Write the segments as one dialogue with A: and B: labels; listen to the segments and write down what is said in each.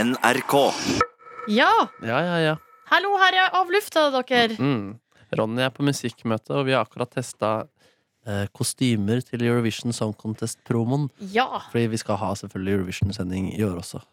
A: NRK.
B: Ja!
C: Ja, ja, ja.
B: Hallo, her er av lufta, dere.
C: Mm. Ronny er på musikkmøte, og vi har akkurat testa eh, kostymer til Eurovision Song Contest-promoen.
B: Ja.
C: Fordi vi skal ha selvfølgelig Eurovision-sending i år også.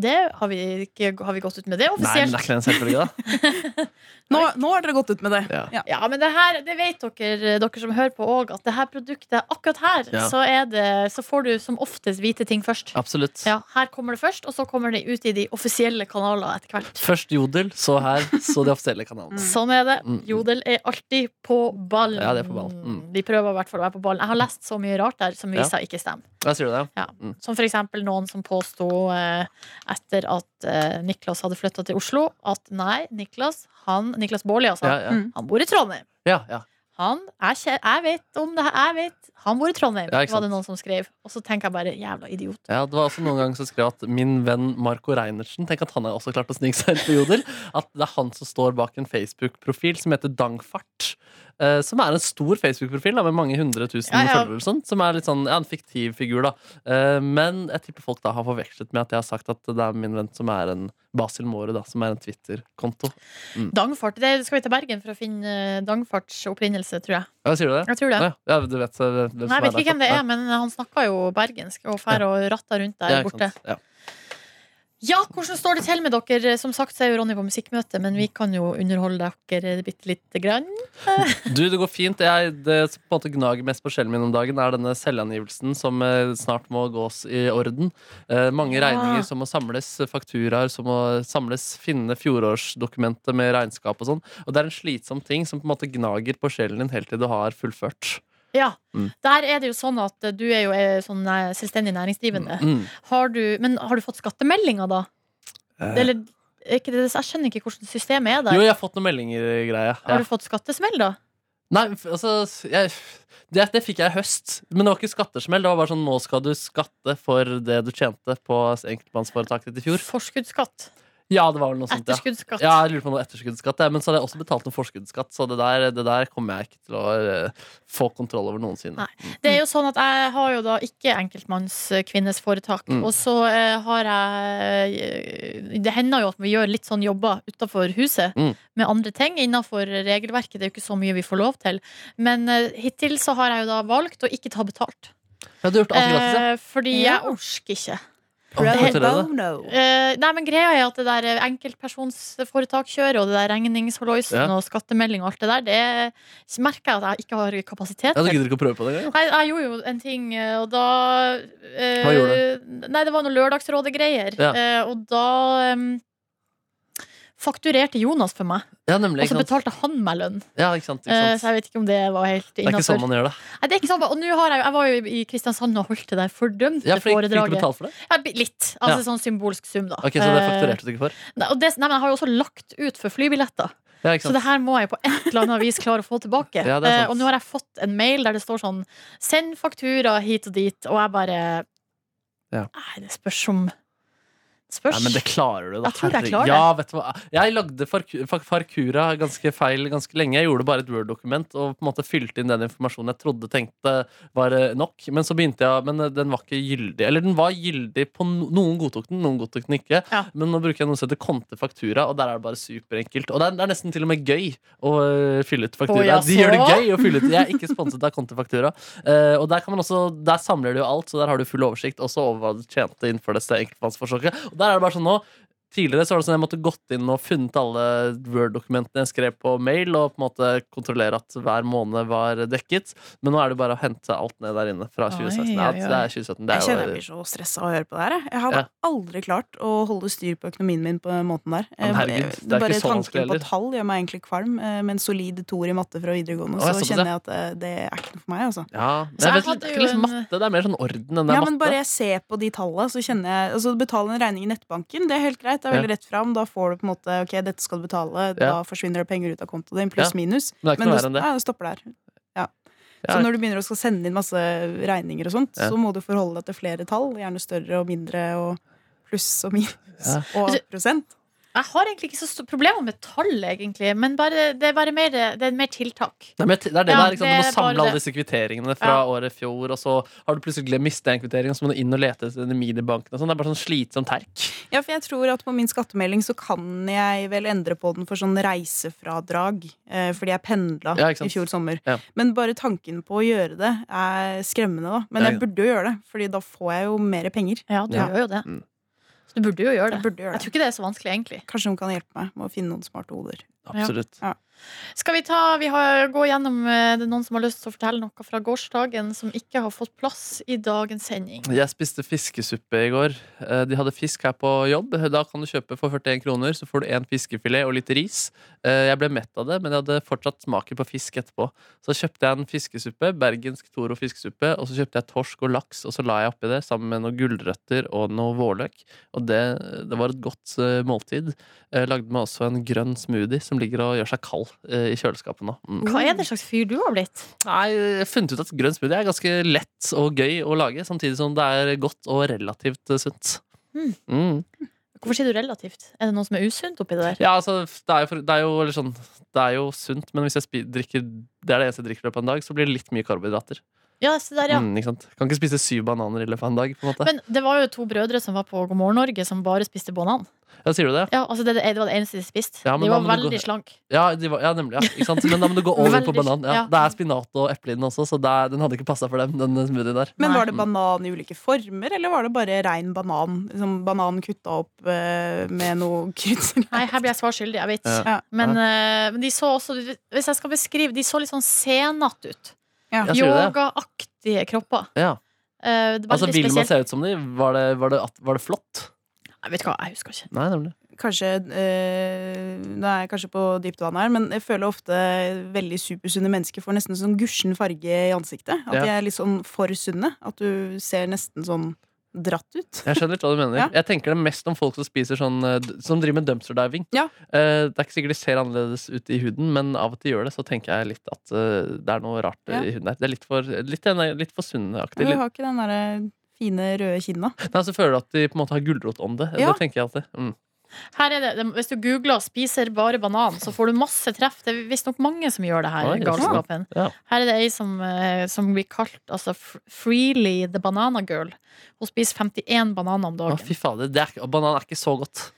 B: Det har vi, ikke, har vi gått ut med det
C: Nei,
B: offisielt?
C: men det er ikke den selvfølgelig, da.
D: Nå, nå har dere gått ut med det.
C: Ja.
D: Ja.
B: Ja, men det her, det vet dere, eh, dere som hører på òg, at det her produktet, akkurat her,
C: Ja.
B: så, er det, så får du som oftest vite ting først.
C: Absolutt.
B: Ja, her kommer det først, og så kommer det ut i de offisielle kanaler etter hvert.
C: Først Jodel, så her, så de offisielle kanalene.
B: Sånn er det.
C: Mm.
B: Jodel er alltid på ballen.
C: Ja, de er på ballen. Mm.
B: De prøver i hvert fall å være på ballen. Jeg har lest så mye rart der som
C: Ja.
B: viser ikke stemmer.
C: Hva sier du det?
B: Som for eksempel noen som påsto eh, etter at eh, Niklas hadde flytta til Oslo, at nei, Niklas, han, Niklas Baarli, altså,
C: Ja, ja.
D: Mm.
B: han bor i Trondheim.
C: ja, ja.
B: Han, jeg, kje- jeg vet om det her, jeg vet. Han bor i Trondheim,
C: Ja, ikke
B: var det
C: sant.
B: noen som skrev. Og så tenker jeg bare jævla idiot.
C: Ja, det var også noen ganger som skrev at min venn Marco Reinertsen Tenk at han har også klart å snike seg inn på Jodel. At det er han som står bak en Facebook-profil som heter Dangfart. eh, som er en stor Facebook-profil da, med mange hundre tusen
B: Ja, ja.
C: følgere. og sånt, Som er litt sånn, ja, en fiktiv figur, da. Eh, men jeg tipper folk da har forvekslet med at jeg har sagt at det er min venn som er en Basil Måre, da, som er en Twitter-konto. Mm.
B: Dangfart, det skal vi til Bergen for å finne eh, Dangfarts opprinnelse, tror jeg.
C: Ja, sier du det?
B: Jeg tror det.
C: Ja, ja, du vet eh, hvem
B: Nei, jeg vet
C: der,
B: ikke hvem det
C: sant?
B: er, men han snakka jo bergensk og fær og ratta rundt
C: Nei.
B: der
C: Ja, ikke
B: borte.
C: sant. Ja.
B: Ja, hvordan står det til med dere? Som sagt så er jo Ronny på musikkmøte, men vi kan jo underholde dere bitte lite grann.
C: Du, det går fint. Jeg, det som på en måte gnager mest på sjelen min om dagen, er denne selvangivelsen som eh, snart må gås i orden. Eh, mange
B: Ja.
C: regninger som må samles, fakturaer som må samles, finne fjorårsdokumentet med regnskap og sånn. Og det er en slitsom ting som på en måte gnager på sjelen din helt til du har fullført.
B: Ja.
C: Mm.
B: Der er det jo sånn at eh, du er jo eh, sånn eh, selvstendig næringsdrivende.
C: Mm.
B: Har du, men har du fått skattemeldinger, da?
C: Eh.
B: Eller, er ikke det, jeg skjønner ikke hvordan systemet er
C: Jo,
B: der.
C: jeg har fått noen meldinger, eh, greia. Ja.
B: Har du fått skattesmell, da?
C: Nei, f- altså jeg, det, det fikk jeg i høst. Men det var ikke skattesmell. Det var bare sånn nå skal du skatte for det du tjente på enkeltmannsforetaket ditt i fjor.
B: Forskuddsskatt.
C: Ja, det var vel noe sånt, Sånn, ja.
B: Etterskuddsskatt.
C: Ja, jeg lurer på noe etterskuddsskatt, jeg, men så hadde jeg også betalt noe forskuddsskatt, så det der, det der kommer jeg ikke til å eh, få kontroll over noensinne.
B: Nei. Det er jo sånn at jeg har jo da ikke enkeltmannskvinnes foretak.
C: Mm.
B: Og så eh, har jeg eh, Det hender jo at vi gjør litt sånn jobber utafor huset
C: Mm.
B: med andre ting innafor regelverket. Det er jo ikke så mye vi får lov til. Men eh, hittil så har jeg jo da valgt å ikke ta betalt.
C: Ja, du har gjort alt gratis, ja.
B: Eh, fordi
D: Ja.
B: jeg orker ikke.
C: Å,
D: Pro
C: hvorfor det, da?
D: bono.
B: Eh, nei, men greia er at det der eh, enkeltpersonsforetak kjører, og det der regningsholoisen
C: Ja.
B: og skattemelding og alt det der, det merker jeg at jeg ikke har kapasitet
C: ja. Du
B: til.
C: gidder ikke å prøve på det engang?
B: Nei, jeg gjorde jo en ting, eh, og da eh,
C: Hva
B: Nei, det var noe Lørdagsrådet-greier.
C: Ja.
B: eh, og da em, fakturerte Jonas for meg,
C: Ja,
B: og så
C: nemlig. Ikke sant?
B: betalte han meg lønn.
C: Ja, ikke sant, ikke
B: Eh,
C: sant.
B: så jeg vet ikke om det var helt
C: Det er ikke sånn
B: innafor.
C: man gjør det.
B: Nei, det er ikke sånn. Og nå har jeg, jeg var jo i Kristiansand og holdt det der fordømte
C: Ja, for ikke, ikke
B: foredraget.
C: betalt for det?
B: Ja, bi- litt. Altså
C: Ja.
B: sånn symbolsk sum, da.
C: Ok, Så det
B: Eh,
C: fakturerte du ikke for?
B: Nei, og det, nei, men jeg har jo også lagt ut for flybilletter,
C: Ja, ikke
B: så det
C: sant.
B: her må jeg på et eller annet vis klare å få tilbake.
C: Ja, det er
B: Eh,
C: sant.
B: og nå har jeg fått en mail der det står sånn 'send faktura hit og dit', og jeg bare
C: Ja.
B: Nei, det spørs om det Spørs.
C: Nei, men det klarer du, da.
B: Jeg tror jeg
C: Herregud.
B: klarer det.
C: ja, vet du hva? Jeg lagde farku- fak- Farkura ganske feil ganske lenge. Jeg gjorde bare et Word-dokument og på en måte fylte inn den informasjonen jeg trodde tenkte var eh, nok. Men så begynte jeg Men eh, den var ikke gyldig. Eller den var gyldig på no Noen godtok den, noen godtok den ikke.
B: Ja.
C: Men nå bruker jeg noe som heter kontefaktura, og der er det bare superenkelt. Og det er, det er nesten til og med gøy å eh, fylle ut faktura.
B: Å, ja,
C: De gjør det
B: så?
C: gøy å fylle ut. Jeg er ikke sponset av kontefaktura. Eh, og der, kan man også, der samler du jo alt, så der har du full oversikt også over hva du tjente innenfor dette enkeltmannsforsøket. Og der er det bare sånn nå Tidligere så var det sånn at jeg måtte gått inn og funnet alle Word-dokumentene jeg skrev på mail, og på en måte kontrollere at hver måned var dekket. Men nå er det bare å hente alt ned der inne fra
B: Oi,
C: 2016.
B: oi,
C: Ja,
B: oi.
C: det er 2017. Det
D: Jeg
C: er
D: kjenner jeg
C: jo
D: blir så stressa av å høre på det her. jeg. Jeg hadde
C: Ja.
D: aldri klart å holde styr på økonomien min på den måten der.
C: Men herregud,
D: Eh,
C: det er ikke
D: Bare
C: så vanskelig
D: tanken på
C: heller.
D: tall gjør meg egentlig kvalm, eh, med en solid toer i matte fra videregående.
C: Å, ja,
D: Så
C: såpass, ja.
D: kjenner jeg at eh, det er ikke noe for meg, altså.
C: ja, men
B: Så
C: jeg
B: jeg
C: vet, litt-
B: hadde jo
C: det er ikke liksom
B: en-
C: matte, det er mer sånn orden enn det
D: Ja,
C: er
D: men
C: matte.
D: bare jeg ser på de tallene, så kjenner jeg Altså, betale en regning i nettbanken, det er helt greit. Det er veldig rett fram. Da får du på en måte Ok, dette skal du betale. Da
C: Ja.
D: forsvinner det penger ut av kontoen din, pluss minus.
C: Men det er ikke
D: Men
C: noe
D: det,
C: verre enn det.
D: ja, det stopper der. Ja.
C: Ja.
D: Så når du begynner å skal sende inn masse regninger og sånt,
C: Ja.
D: så må du forholde deg til flere tall. Gjerne større og mindre og pluss og minus
C: Ja.
D: og prosent.
B: Jeg har egentlig ikke så store problemer med tall, egentlig, men bare, det er bare mer, det er mer tiltak.
C: Nei, men det er det
B: Ja,
C: der,
B: det
C: ikke sant? Du
B: er
C: må
B: bare
C: samle alle
B: det.
C: disse kvitteringene fra
B: Ja.
C: året i fjor, og så har du plutselig glemt miste en kvittering, og så må du inn og lete etter den i minibanken. Og sånn. det er bare sånn slitsom terk.
D: Ja, for jeg tror at på min skattemelding så kan jeg vel endre på den for sånn reisefradrag, eh, fordi jeg pendla
C: Ja, ikke sant.
D: i fjor sommer.
C: Ja.
D: Men bare tanken på å gjøre det er skremmende, da. Men
C: Ja,
D: jeg
C: ja.
D: burde jo gjøre det, fordi da får jeg jo mer penger.
B: Ja, du
C: Ja.
B: gjør jo det.
C: Mm.
B: Så du burde jo gjøre det.
D: Jeg burde
B: Jeg
D: gjøre det.
B: tror ikke det er så vanskelig, egentlig.
D: Kanskje hun kan hjelpe meg med å finne noen smarte hoder.
C: Absolutt.
B: Skal vi, ta, vi har, gå gjennom eh, det er noen som har lyst til å fortelle noe fra gårsdagen som ikke har fått plass i dagens sending?
C: Jeg spiste fiskesuppe i går. Eh, De hadde fisk her på jobb. Da kan du kjøpe for 41 kroner, så får du en fiskefilet og litt ris. Eh, Jeg ble mett av det, men jeg hadde fortsatt smaken på fisk etterpå. Så kjøpte jeg en fiskesuppe, bergensk Toro fiskesuppe, og så kjøpte jeg torsk og laks, og så la jeg oppi det sammen med noen gulrøtter og noe vårløk. Og det, det var et godt eh, måltid. Jeg lagde meg også en grønn smoothie som ligger og gjør seg kald eh, i kjøleskapet nå. Mm.
B: Hva er det slags fyr du har blitt?
C: Nei, jeg har funnet ut at grønn smoothie er ganske lett og gøy å lage, samtidig som det er godt og relativt eh, sunt.
B: Mm.
C: Mm.
B: Hvorfor sier du relativt? Er det noe som er usunt oppi det der?
C: Ja, altså, det er, jo, for- det, er jo, eller sånn, det er jo sunt, men hvis jeg spi- drikker det er det eneste jeg drikker i løpet av en dag, så blir det litt mye karbohydrater.
B: Ja, se der, ja.
C: Mm, ikke sant? Kan ikke spise syv bananer i løpet av en dag. på en måte.
B: Men det var jo to brødre som var på God morgen Norge, som bare spiste banan.
C: ja, sier du det?
B: Ja, altså det, det var det eneste de spiste.
C: Ja,
B: de
C: men da
B: var
C: må du
B: veldig
C: gå-
B: slank.
C: Ja, de var, ja nemlig. Ja. Ikke sant? Men da må du gå over på
B: Veldig-
C: banan. Ja.
B: ja.
C: Det er spinat og eple i den også, så det er, den hadde ikke passa for dem. den smoothien der.
D: Men
B: Nei.
D: var det banan i ulike former, eller var det bare rein banan? Liksom banan kutta opp eh, med noe krydder?
B: Nei, her blir jeg svar skyldig. Jeg vet.
C: Ja.
D: Ja.
B: Men, eh, men de så også Hvis jeg skal beskrive, de så litt sånn senete ut.
C: Ja, sier du det?
B: Yogaaktige kropper.
C: Ja.
B: Eh, det var
C: Altså,
B: veldig
C: Vil man
B: spesielt.
C: se ut som de? Var det, var det, at- var det flott?
B: Jeg vet ikke hva, jeg husker ikke.
C: Nei, nemlig.
D: Kanskje eh, Nå er jeg kanskje på dypt vann her, men jeg føler ofte veldig supersunne mennesker får nesten sånn gusjen farge i ansiktet. At
C: Ja.
D: de er litt sånn for sunne. At du ser nesten sånn dratt ut.
C: Jeg skjønner litt hva du mener.
D: Ja.
C: Jeg tenker det mest om folk som spiser sånn eh, d- Som driver med dumpster diving.
D: Ja.
C: Eh, det er ikke sikkert de ser annerledes ut i huden, men av og til gjør det, så tenker jeg litt at eh, det er noe rart eh,
D: Ja.
C: i huden der. Det er litt for, litt, litt for sunneaktig.
D: Du
C: Litt-
D: har ikke den derre fine, røde kinna.
C: Nei, så føler du at de på en måte har gulrotånde.
D: Ja.
C: Det tenker jeg alltid. Mm.
B: Her er det, det- hvis du googler 'spiser bare banan', så får du masse treff. Det er visstnok mange som gjør det her.
C: Oi,
B: i galskapen
C: ja.
B: Her er det ei som, eh, som blir kalt altså, fr- 'Freely the banana girl'. Hun spiser 51 bananer om
C: Å,
B: dagen.
C: fy fader. Det er, ikke- banan er ikke så godt.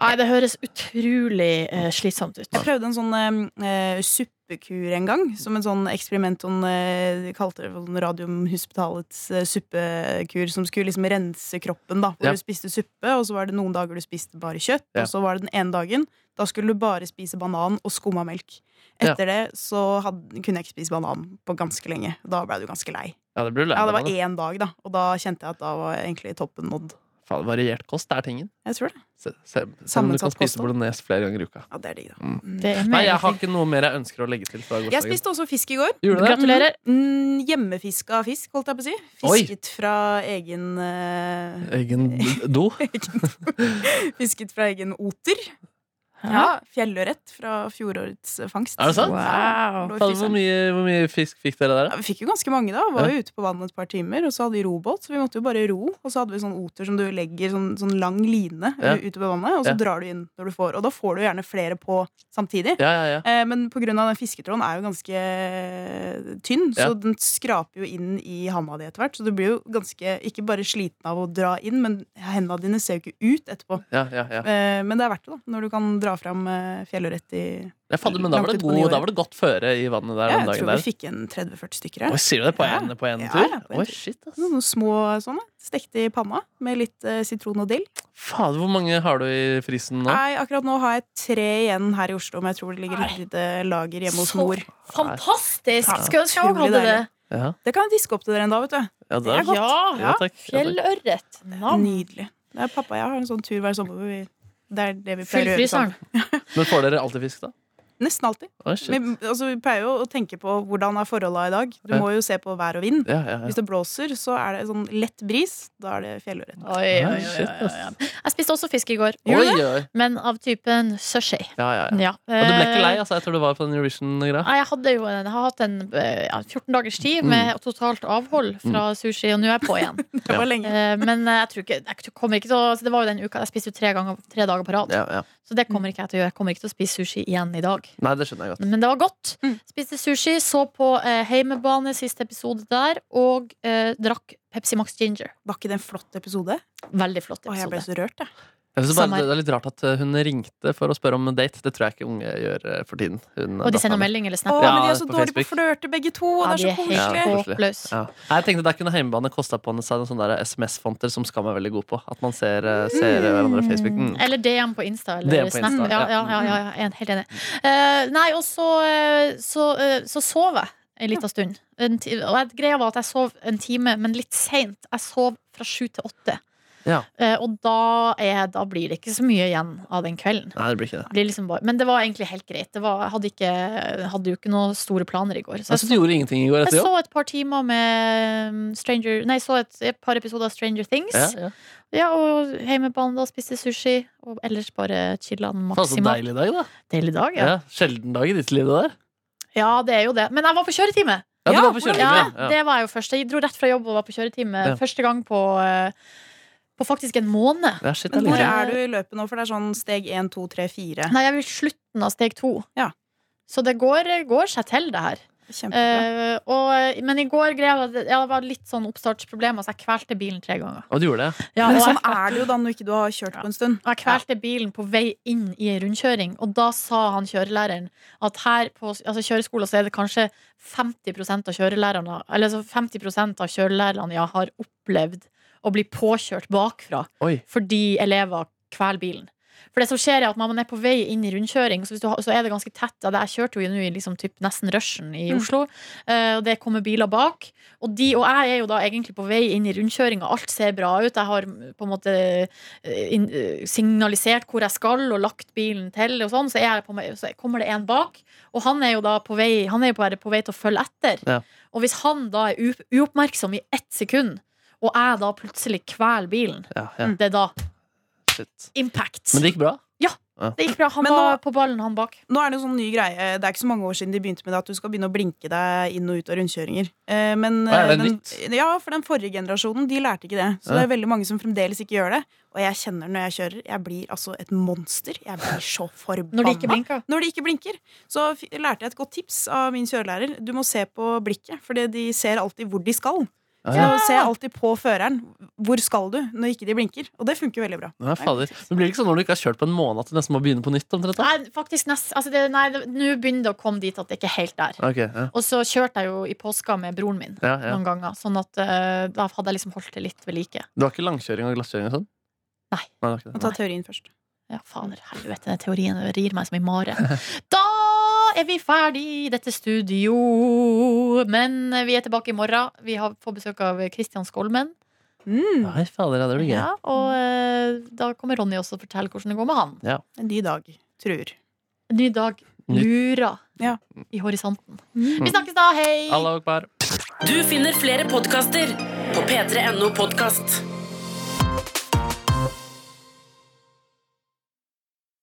B: Nei, det høres utrolig eh, slitsomt ut.
D: Jeg prøvde en sånn eh, suppekur en gang, som en sånn eksperiment. Sånn, eh, de kalte det for sånn Radiumhospitalets eh, suppekur, som skulle liksom rense kroppen. da Hvor
C: Ja.
D: du spiste suppe, og så var det noen dager du spiste bare kjøtt.
C: Ja.
D: Og så var det den ene dagen da skulle du bare spise banan og skumma melk. Etter det så hadde, kunne jeg ikke spise banan på ganske lenge. Da ble du ganske lei.
C: Ja, det blir du lei
D: Ja, det
C: deg av,
D: var
C: da.
D: én dag, da. Og da kjente jeg at da var egentlig toppen nådd.
C: Faen, Variert kost er tingen.
D: Jeg tror det.
C: Se- se- Selv om du kan
D: Sammensatt kost,
C: spise
D: da.
C: bolognese flere ganger i uka.
D: Ja, det er digg, da.
C: Mm.
B: Det er
C: Nei,
B: meget
C: jeg har ikke noe mer jeg ønsker å legge til. fra
D: Jeg
C: gårsdagen.
D: spiste også fisk i går.
C: Gjorde du det?
B: Gratulerer.
D: Mm, hjemmefiska fisk, holdt jeg på å si. Fisket fra egen eh,
C: Egen do.
D: Fisket fra egen oter. Ja,
B: Ja.
D: Fjellørret fra fjorårets eh, fangst.
C: Er det sant?
D: Ja,
B: Wow.
D: lå i
C: Fader, Hvor
D: fryseren.
C: mye, hvor mye fisk fikk dere der? da?
D: Ja, vi fikk jo ganske mange, da. Var jo ute på vannet et par timer. Og så hadde vi robåt, så vi måtte jo bare ro. Og så hadde vi sånn oter som du legger sånn, sånn lang line
C: Ja.
D: eh, ute på vannet, og så
C: Ja.
D: drar du inn når du får. Og da får du gjerne flere på samtidig.
C: Ja, ja, ja.
D: Eh, Men pga. den fisketråden er jo ganske eh, tynn,
C: Ja.
D: så den skraper jo inn i handa di etter hvert. Så du blir jo ganske, ikke bare sliten av å dra inn, men henda dine ser jo ikke ut etterpå.
C: ja, ja, ja.
D: Eh, Men det er verdt det, da, når du kan dra fram eh, fjellørret i
C: Ja, fader, men da var, det
D: Langt ut på nye
C: god,
D: år.
C: da var det godt føre i vannet der
D: Ja,
C: den
D: Jeg
C: dagen
D: tror
C: der.
D: vi fikk en 30-40 stykker
C: Oi,
D: her.
C: sier du det på
D: Ja.
C: en, på en
D: Ja,
C: tur?
D: ja, på en
C: Oi,
D: tur. Mm.
C: shit, ass.
D: Noen små sånne. Stekte i panna med litt eh, sitron og dill.
C: Fader, hvor mange har du i frysen nå?
D: Nei, akkurat nå har jeg tre igjen her i Oslo, men jeg tror det ligger et lite lager hjemme hos
B: Så
D: mor.
B: Fantastisk!
D: Ja,
B: Skulle ønske jeg òg
D: utrolig
B: hadde det.
C: Ja,
D: Det kan jeg diske opp til dere en dag, vet du.
C: ja, det
D: er
C: er
D: godt.
B: Ja,
C: ja, takk. Ja, takk.
B: Fjellørret. Navn.
D: Nydelig. Det er pappa og jeg har en sånn tur hver sommer. Hvor vi, det er det vi
B: Fyll
D: pleier å gjøre.
B: fryseren.
D: sammen.
C: Men får dere alltid fisk, da?
D: Nesten alltid.
C: Oi,
D: Vi,
C: shit.
D: altså, vi pleier jo å tenke på hvordan er forholda i dag. Du
C: Ja.
D: må jo se på vær og vind.
C: Ja, ja, ja.
D: Hvis det blåser, så er det sånn lett bris. Da er det fjellørret.
B: Oi, oi, oi,
C: Shit,
B: oi,
C: ass.
B: oi. Jeg spiste også fisk i går,
C: Oi, oi.
B: men av typen sushi.
C: Ja, ja, ja.
B: Ja.
C: Ja, du ble ikke lei?
B: Eh,
C: altså Jeg tror du var på den Eurovision-greia.
B: Nei, jeg, hadde jo en, jeg har hatt en eh, ja, 14 dagers tid med totalt avhold fra sushi, og nå er jeg på igjen.
D: Det var lenge.
B: altså, Eh, Men jeg tror ikke, jeg kommer ikke til å så Det var jo den uka jeg spiste jo tre, ganger, tre dager på rad.
C: Ja, ja.
B: Så det kommer ikke jeg til å gjøre. Jeg kommer ikke til å spise sushi igjen i dag.
C: Nei, det skjønner jeg godt.
B: Men det var godt.
D: Mm.
B: Spiste sushi, så på eh, Heimebane siste episode der, og eh, drakk Pepsi Max Ginger.
D: Var ikke det en flott episode?
B: Veldig flott
D: Å, jeg ble
B: episode.
D: så rørt, jeg.
C: Jeg synes bare,
B: Samme her.
C: det er litt rart at eh, hun ringte for å spørre om en date. Det tror jeg ikke unge gjør eh, for tiden. Hun, eh,
B: Og de
C: datteren.
B: sender melding eller
D: Å,
B: snap.
D: men de
C: Ja,
D: er så
C: på
D: dårlige på å
C: Facebook.
D: flørte, begge to. og
B: Ja,
D: det
B: de er
D: er så
B: helt
D: koselig.
C: Ja.
B: håpløse.
C: Ja. Nei, Jeg tenkte Der kunne hjemmebane kosta på seg noen sånne der SMS-fonter som Skam er veldig god på. At man ser, eh, ser hverandre på Facebook. Mm.
B: Eller DM på Insta. Eller
C: DM på
B: Snap.
C: Insta,
B: ja, ja,
C: ja.
B: ja, ja, jeg er helt enig. Eh, nei, og så, eh, så, eh, så sov jeg en liten stund. En ti og jeg- greia var at jeg sov en time, men litt seint. Jeg sov fra sju til åtte.
C: Ja.
B: Eh, og da, er, da blir det ikke så mye igjen av den kvelden.
C: Nei, det blir ikke det.
B: Det Blir liksom bare, men det var egentlig helt greit. Det var, jeg hadde, ikke, hadde jo ikke noen store planer i går. Så jeg
C: Altså, du gjorde ingenting i går
B: jeg
C: etter jobb?
B: så et par timer med um, Stranger Nei, så et, et par episoder av Stranger Things.
C: Ja,
B: Ja,
C: ja.
B: og hjemmebane da, spiste sushi. Og ellers bare chilla
C: Faen, så
B: maksimalt.
C: deilig dag, da.
B: Deilig dag,
C: Ja.
B: ja.
C: Sjelden dag i ditt liv, det der.
B: ja. det er jo det. Men jeg var på kjøretime!
C: Ja, du
D: Ja,
C: var på
D: hvordan-
C: kjøretime.
B: Ja,
C: ja.
B: det var jeg jo først. Jeg dro rett fra jobb og var på kjøretime.
C: Ja.
B: Første gang på, eh, på faktisk en måned.
C: Ja, shit, det er
D: Men
C: litt gøy.
D: hvor
B: Ja.
D: er du i løpet nå? For det er sånn steg 1, 2, 3, 4.
B: Nei, jeg vil slutten av steg to.
D: Ja.
B: Så det går, går seg til, det her.
D: Kjempebra.
B: Eh, og, men i går greia jeg at det- ja, det var litt sånn oppstartsproblemer, så jeg kvelte bilen tre ganger.
C: Å, du gjorde det?
B: Ja,
D: Men
B: og jeg-
D: sånn er det jo da når ikke du har kjørt på en stund.
B: Og Jeg kvelte bilen på vei inn i en rundkjøring, og da sa han kjørelæreren at her på altså kjøreskolen så er det kanskje 50 av kjørelærerne Eller så 50 av kjørelærerne ja, har opplevd å bli påkjørt bakfra
C: Oi.
B: fordi elever kveler bilen. For det som skjer er at man er på vei inn i rundkjøring, så, hvis du har, så er det ganske tett. Ja, det- Jeg kjørte jo nå i liksom typ nesten rushen i
D: Mm.
B: Oslo, eh, og det kommer biler bak. Og, de, og jeg er jo da egentlig på vei inn i rundkjøringa, alt ser bra ut. Jeg har på en måte eh, inn- eh, signalisert hvor jeg skal, og lagt bilen til, og sånn. Så, er jeg på, meg- så kommer det en bak, og han er jo da på vei, han er jo bare på vei til å følge etter.
C: Ja.
B: Og hvis han da er u- uoppmerksom i ett sekund, og jeg da plutselig kveler bilen,
C: Ja, ja,
B: det er da
C: shit.
B: impact.
C: Men det gikk bra?
B: Det gikk bra. Han
D: Men nå-
B: var på ballen, han bak.
D: Nå er det jo sånn ny greie. Det er ikke så mange år siden de begynte med det at du skal begynne å blinke deg inn og ut av rundkjøringer. Eh, Men,
C: Å, er det
D: eh,
C: nytt?
D: den, ja, for den forrige generasjonen de lærte ikke det. Så det er veldig mange som fremdeles ikke gjør det. Og jeg kjenner når jeg kjører. Jeg blir altså et monster. Jeg blir så forbanna.
B: Når de ikke blinka.
D: Når de ikke blinker. Så f- lærte jeg et godt tips av min kjørelærer. Du må se på blikket, for de ser alltid hvor de skal.
C: Ja, Ah,
D: Så
C: ja.
D: se alltid på føreren. Hvor skal du? Når ikke de blinker. Og det funker veldig bra.
C: Nei, fader. Men blir det ikke sånn når du ikke har kjørt på en måned at du nesten må begynne på nytt? omtrent da?
B: Nei, faktisk nest, altså det, nei, det- nå begynner det å komme dit at det ikke er helt der.
C: Ok, ja.
B: Og så kjørte jeg jo i påska med broren min
C: Ja, ja.
B: noen ganger, sånn at eh, da hadde jeg liksom holdt det litt ved like.
C: Du har ikke langkjøring og glasskjøring og sånn?
B: Nei.
C: Nei, det var ikke det.
D: Og ta teorien først.
B: Ja, fader, helvete, den teorien rir meg som i mare. Da er vi ferdig i dette studio, men vi er tilbake i morgen. Vi har får besøk av Kristian Skolmen.
D: Mm,
C: Nei, fader, ja, det blir gøy.
B: Ja, og eh, da kommer Ronny også og forteller hvordan det går med han.
D: en ny dag truer.
B: Ny dag lurer
D: Ja.
B: i horisonten.
D: Mm.
B: Vi snakkes da, hei!
C: Allah akbar.
A: Du finner flere podkaster på p3.no podkast.